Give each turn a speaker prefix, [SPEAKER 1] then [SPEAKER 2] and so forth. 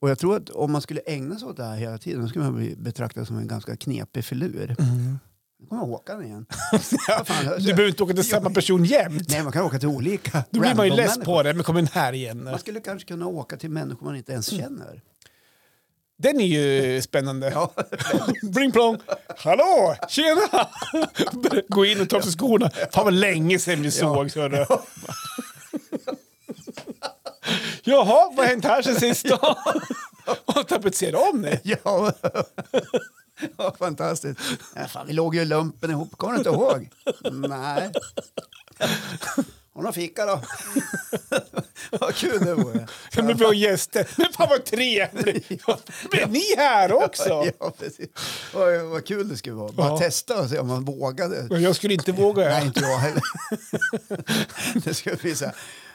[SPEAKER 1] Och jag tror att om man skulle ägna sig åt det här hela tiden då skulle man bli betraktad som en ganska knepig filur. Nu kommer Håkan igen. Vad fan,
[SPEAKER 2] Mm. Du behöver inte åka till samma person jämt.
[SPEAKER 1] Nej, man kan åka till olika.
[SPEAKER 2] Då blir man ju
[SPEAKER 1] random
[SPEAKER 2] less
[SPEAKER 1] människor.
[SPEAKER 2] på det, men kommer den här igen.
[SPEAKER 1] Man skulle kanske kunna åka till människor man inte ens känner.
[SPEAKER 2] Den är ju spännande.
[SPEAKER 1] Ja.
[SPEAKER 2] Bling plong! Hallå! Tjena! Gå in och ta av sig skorna. Fan vad länge sedan vi sågs hörru. Jaha, vad har hänt här sen sist då? Har tapetserat om dig?
[SPEAKER 1] Ja, ja fantastiskt. Ja, fan, vi låg ju i lumpen ihop, kommer du inte ihåg? Nej. Har du någon fika då? Vad kul det vore.
[SPEAKER 2] Men vi har gäster. Men fan vad trevligt! Är ni här också?
[SPEAKER 1] Ja, precis. Vad, vad kul det skulle vara. Bara
[SPEAKER 2] Ja.
[SPEAKER 1] testa och se om man vågade.
[SPEAKER 2] Jag skulle inte våga.
[SPEAKER 1] Nej, inte jag heller. det skulle bli så här.